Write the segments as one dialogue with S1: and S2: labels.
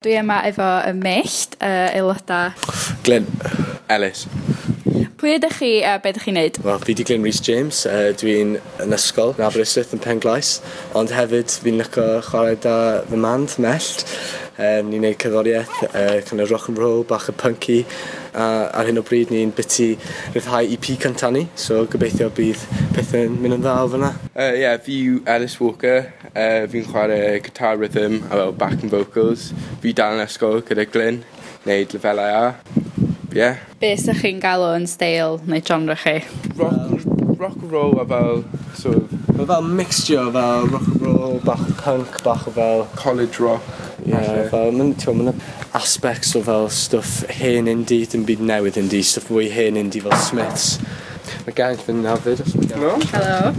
S1: Dwi yma efo y mellt, y aelodau.
S2: Glyn Ellis.
S1: Pwy ydych chi a be ydych chi'n neud?
S2: Wel, fi di Glyn Rhys James. Uh, dwi'n yn ysgol yn Aberystwyth yn Penglais. Ond hefyd, fi'n lyco chwarae da fy mand, mellt. Um, ni'n neud cyddoriaeth, uh, kind of rock and roll, bach y punky. A ar hyn o bryd, ni'n biti rhyddhau EP cynta ni. So, gobeithio bydd pethau'n mynd yn dda o fyna.
S3: Uh, yeah, fi yw Ellis Walker. Uh, fi'n chwarae guitar rhythm a fel back and vocals. Fi dal yn ysgol gyda Glyn, neud lefelau A. Yeah.
S1: Be ydych chi'n galw yn steil neu genre chi?
S3: Rock, rock and roll a fel sort of
S2: Mae fel mixture o fel rock and roll, bach o punk, bach o fel
S3: college rock.
S2: Yeah,
S3: falle.
S2: fel, mae'n ti'w, mae'n aspects o fel stuff hen indie, dim byd newydd indie, stuff fwy hen indie fel Smiths. Mae gang fy'n nafyd, os mae'n
S3: No?
S1: Helo.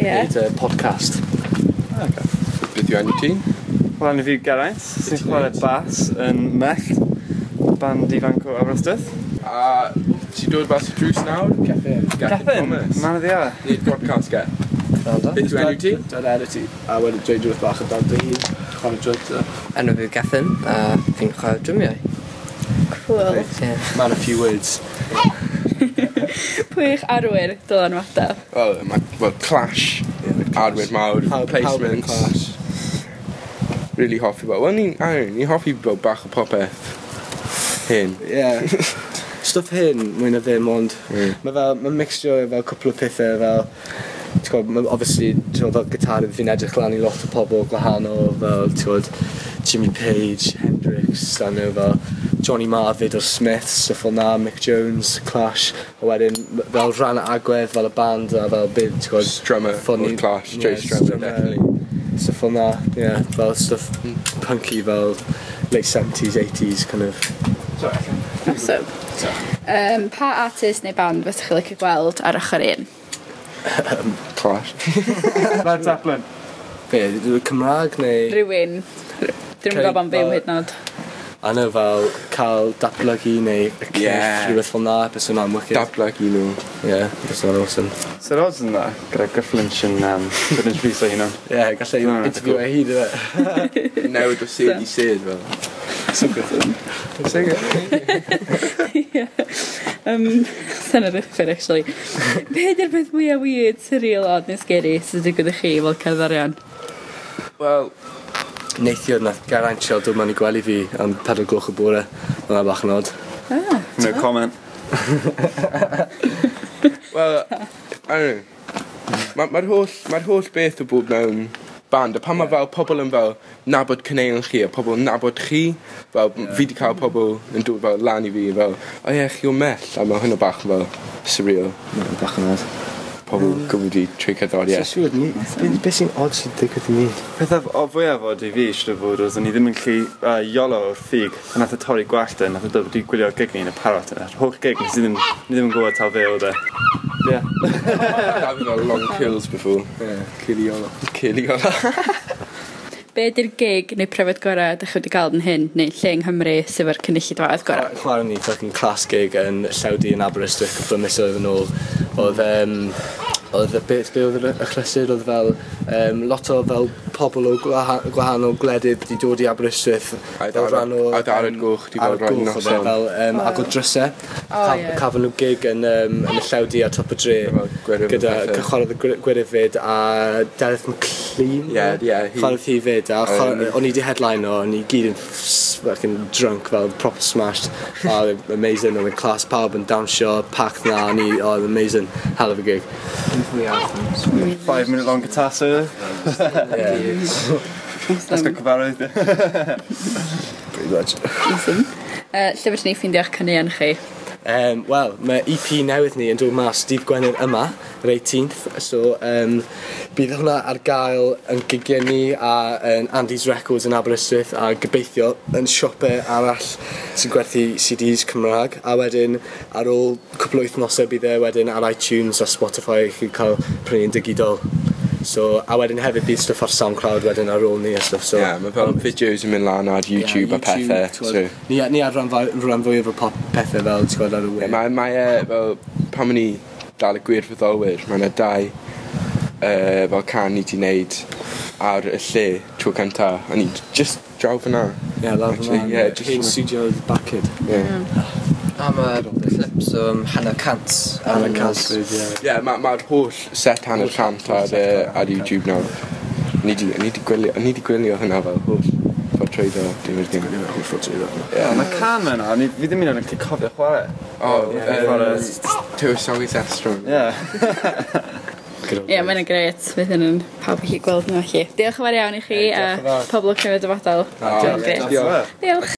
S1: Ie.
S2: gwneud uh, podcast.
S3: Beth yw enw ti?
S4: Rhaid i fi Geraint, sy'n chwarae bas yn mell, band ifanc o Aberystwyth.
S3: A ti dod bas i drws nawr? Ceffin.
S4: Geffin, man o ddia.
S3: Nid podcast ge. Beth yw enw ti?
S2: Dad Eddy ti, a wedyn dweud rhywbeth bach o dad dy hun, chwarae drwyd.
S5: enw fi yw Gethin, a fi'n chwarae drymiau.
S1: Cool.
S5: Yeah.
S2: Man a few words.
S1: Pwy eich arwyr dylan wada?
S3: Wel, ma- wel, Clash. Arwyr mawr,
S2: Pawb- pawb yn y
S3: placements. Really hoffi fel. Wel, ni'n awn, ni'n hoffi fel bach o popeth. Hyn.
S2: Yeah. stuff hyn, mwy na ddim, ond
S3: Mm.
S2: mae fel, mae'n mixtio o fel cwpl o pethau fel, ti'n gwybod, mae obviously, ti'n gwbod, fel gitarydd fi'n edrych lan i lot o pobl gwahanol, fel, ti'n gwybod, Jimmy Page, Hendrix, a nhw fel, Johnny Marvid o Smith, stuff fel na, Mick Jones, Clash, a wedyn m- fel rhan agwedd fel y band a fel byd, ti'n gwybod,
S3: Drummer
S2: Funny-
S3: o'r Clash,
S2: Ie,
S3: Joe Strummer,
S2: Strummer.
S3: definitely.
S2: stuff fel na, yeah, fel stuff punky fel late 70s, 80s, kind of.
S1: Awesome. Um, pa artist neu band fyddwch chi'n licio gweld ar ochr un?
S3: Clash.
S4: Led Zeppelin.
S2: Be, ydw- Cymraeg neu...
S1: Rhywun. Dwi'n
S2: Craig
S1: gwybod am byw
S2: Ball-
S1: hyd nod.
S2: A nhw fel cael datblygu neu y cyff,
S3: Yeah.
S2: rhywbeth fel na, beth yna'n wicked.
S3: Dablag i nhw.
S2: Ie, beth yna'n awesome.
S4: Sir Oz yn dda, gyda Gyfflinch yn um, Gwydyn Rhys o hunan.
S2: Ie, yeah, gallai
S4: No, no,
S2: interview ei hyd yna.
S3: Newid o sydd i sydd fel.
S4: So Gwydyn.
S3: Sing it.
S1: Um, Sa'n yr yffyr, actually. Be ydy'r peth mwyaf weird, surreal, odd neu scary sydd wedi gwybod chi fel cerddorion?
S3: Wel,
S2: Neithiwr nath garantio dod mewn i gwely fi am pedwar gloch y bore. Mae'n bach yn od.
S4: No comment.
S3: wel, I don't know. Mae'r ma ma'r holl, ma holl beth o bod mewn band, a pan mae fel pobl yn fel nabod cyneuon chi, a pobl yn nabod chi, fel m- fi di cael pobl yn dod fel lan i fi, fel, o ie, chi o mell, a mae hwnna bach yn fel surreal,
S2: Mae'n bach yn od.
S3: pobl gofod fi trwy
S2: Ie.
S3: cerddoriaeth.
S2: siwr ni, beth- beth sy'n od sy'n digwydd i ni?
S4: Pethau o fwyaf o di fi eisiau fod oedd o'n i ddim yn lli uh, iolo o'r ffug a nath o torri gwallt yn nath o dod i gwylio gig ni yn y parot yna yr holl gig nes i ddim, ni ddim yn gwybod tal fe oedd e Ie,
S3: I've had long kills before.
S2: Ie, cili olo.
S3: Cili o la.
S1: Be ydy'r gig neu pryfed gorau ydych chi wedi cael yn hyn, neu lle yng Nghymru sef yr cynulleidfaoedd gorau?
S2: Chwarae ni fucking class gig yn Llewdi yn Aberystwyth cwpl o misoedd yn ôl. Oedd, um, oedd y beth be oedd y chlysur oedd fel um, lot o fel pobl o gwaha- gwahanol gwledydd wedi dod i Aberystwyth
S3: A
S2: fel
S3: Darod- a Darod Goch 'di fel
S2: Darod
S3: rhoi
S2: Goch oedd e,
S3: noson.
S2: fel um, ag o drysau
S1: ie.
S2: cafon nhw gig yn, um, yn y llewdi a top y dre
S3: Efo Gwirydd
S2: gyda
S3: a pethe.
S2: cychwaraedd y Gwy- Gwyrfyd a Dereth McLean
S3: Ie, ie, hi.
S2: chwaraedd hi fyd a chwarae-
S3: Yym.
S2: o'n i di headline o, o'n i gyd yn s- fucking drunk fel, proper smashed. A oedd yn amazing, oedd yn class pawb yn dawnsio, packed na, o'n i, oedd yn amazing, hell of a gig.
S4: 5 minute long guitar solo
S2: Yeah,
S4: That's got
S1: Awesome.
S4: cyfarwydd
S2: pretty much.
S1: Awesome. Uh, lle fydych ni'n ffeindio'ch cynnion chi?
S2: Um, Wel, mae EP newydd ni yn dod mas dydd Gwener yma, yr 18th, so um, bydd hwnna ar gael yn gigiau ni a yn Andy's Records yn Aberystwyth a gobeithio yn siopau arall sy'n gwerthu CDs Cymraeg a wedyn ar ôl cwpl o wythnosau bydd e wedyn ar iTunes a Spotify i chi cael prynu'n digidol. So, a wedyn hefyd bydd stuff ar SoundCloud wedyn ar ôl ni a stuff. So,
S3: Ie, mae fel fideos yn mynd lan ar um, YouTube a pethau. so-
S2: So. Ni, ni ar ran, fa- ran fwyaf o pop- pethau fel, ti'n gweld ar y we.
S3: Ie, Mae, mae e, fel, pan ma'n i dal y gwir fyddolwyr, mae yna dau uh, fel can i di wneud ar y lle, trwy tro cynta, a ni just draw fyna.
S2: Ie, lawr
S3: Actually,
S2: yma.
S3: yeah, just
S2: Hen
S3: wanna-
S2: studio bacyd.
S3: Yeah.
S5: Am y clips o'n hanner cant.
S2: Ar y
S5: am
S2: cant,
S5: yr-
S2: ie.
S3: Ie, mae'r ma ma'r holl set hanner cant ar, yy, ar YouTube nawr. Ni di, ni di gwylio, ni di gwylio hynna fel holl ffordd trwyddo diwyr dim. Holl ffordd trwyddo.
S4: Ie, mae can yna, ni- fi ddim yn o'n gallu cofio chwarae.
S3: O,
S4: Fi'n chwarae...
S3: Oh, yym, Two South Astron.
S4: Ie.
S1: Ie, mae'n gret. Fydd hyn yn pawb i chi gweld nhw allu. Diolch yn fawr iawn i chi a
S4: diolch yn fawr.
S1: pob lwc yn y dyfodol. Diolch.
S4: Ie,
S1: Diolch.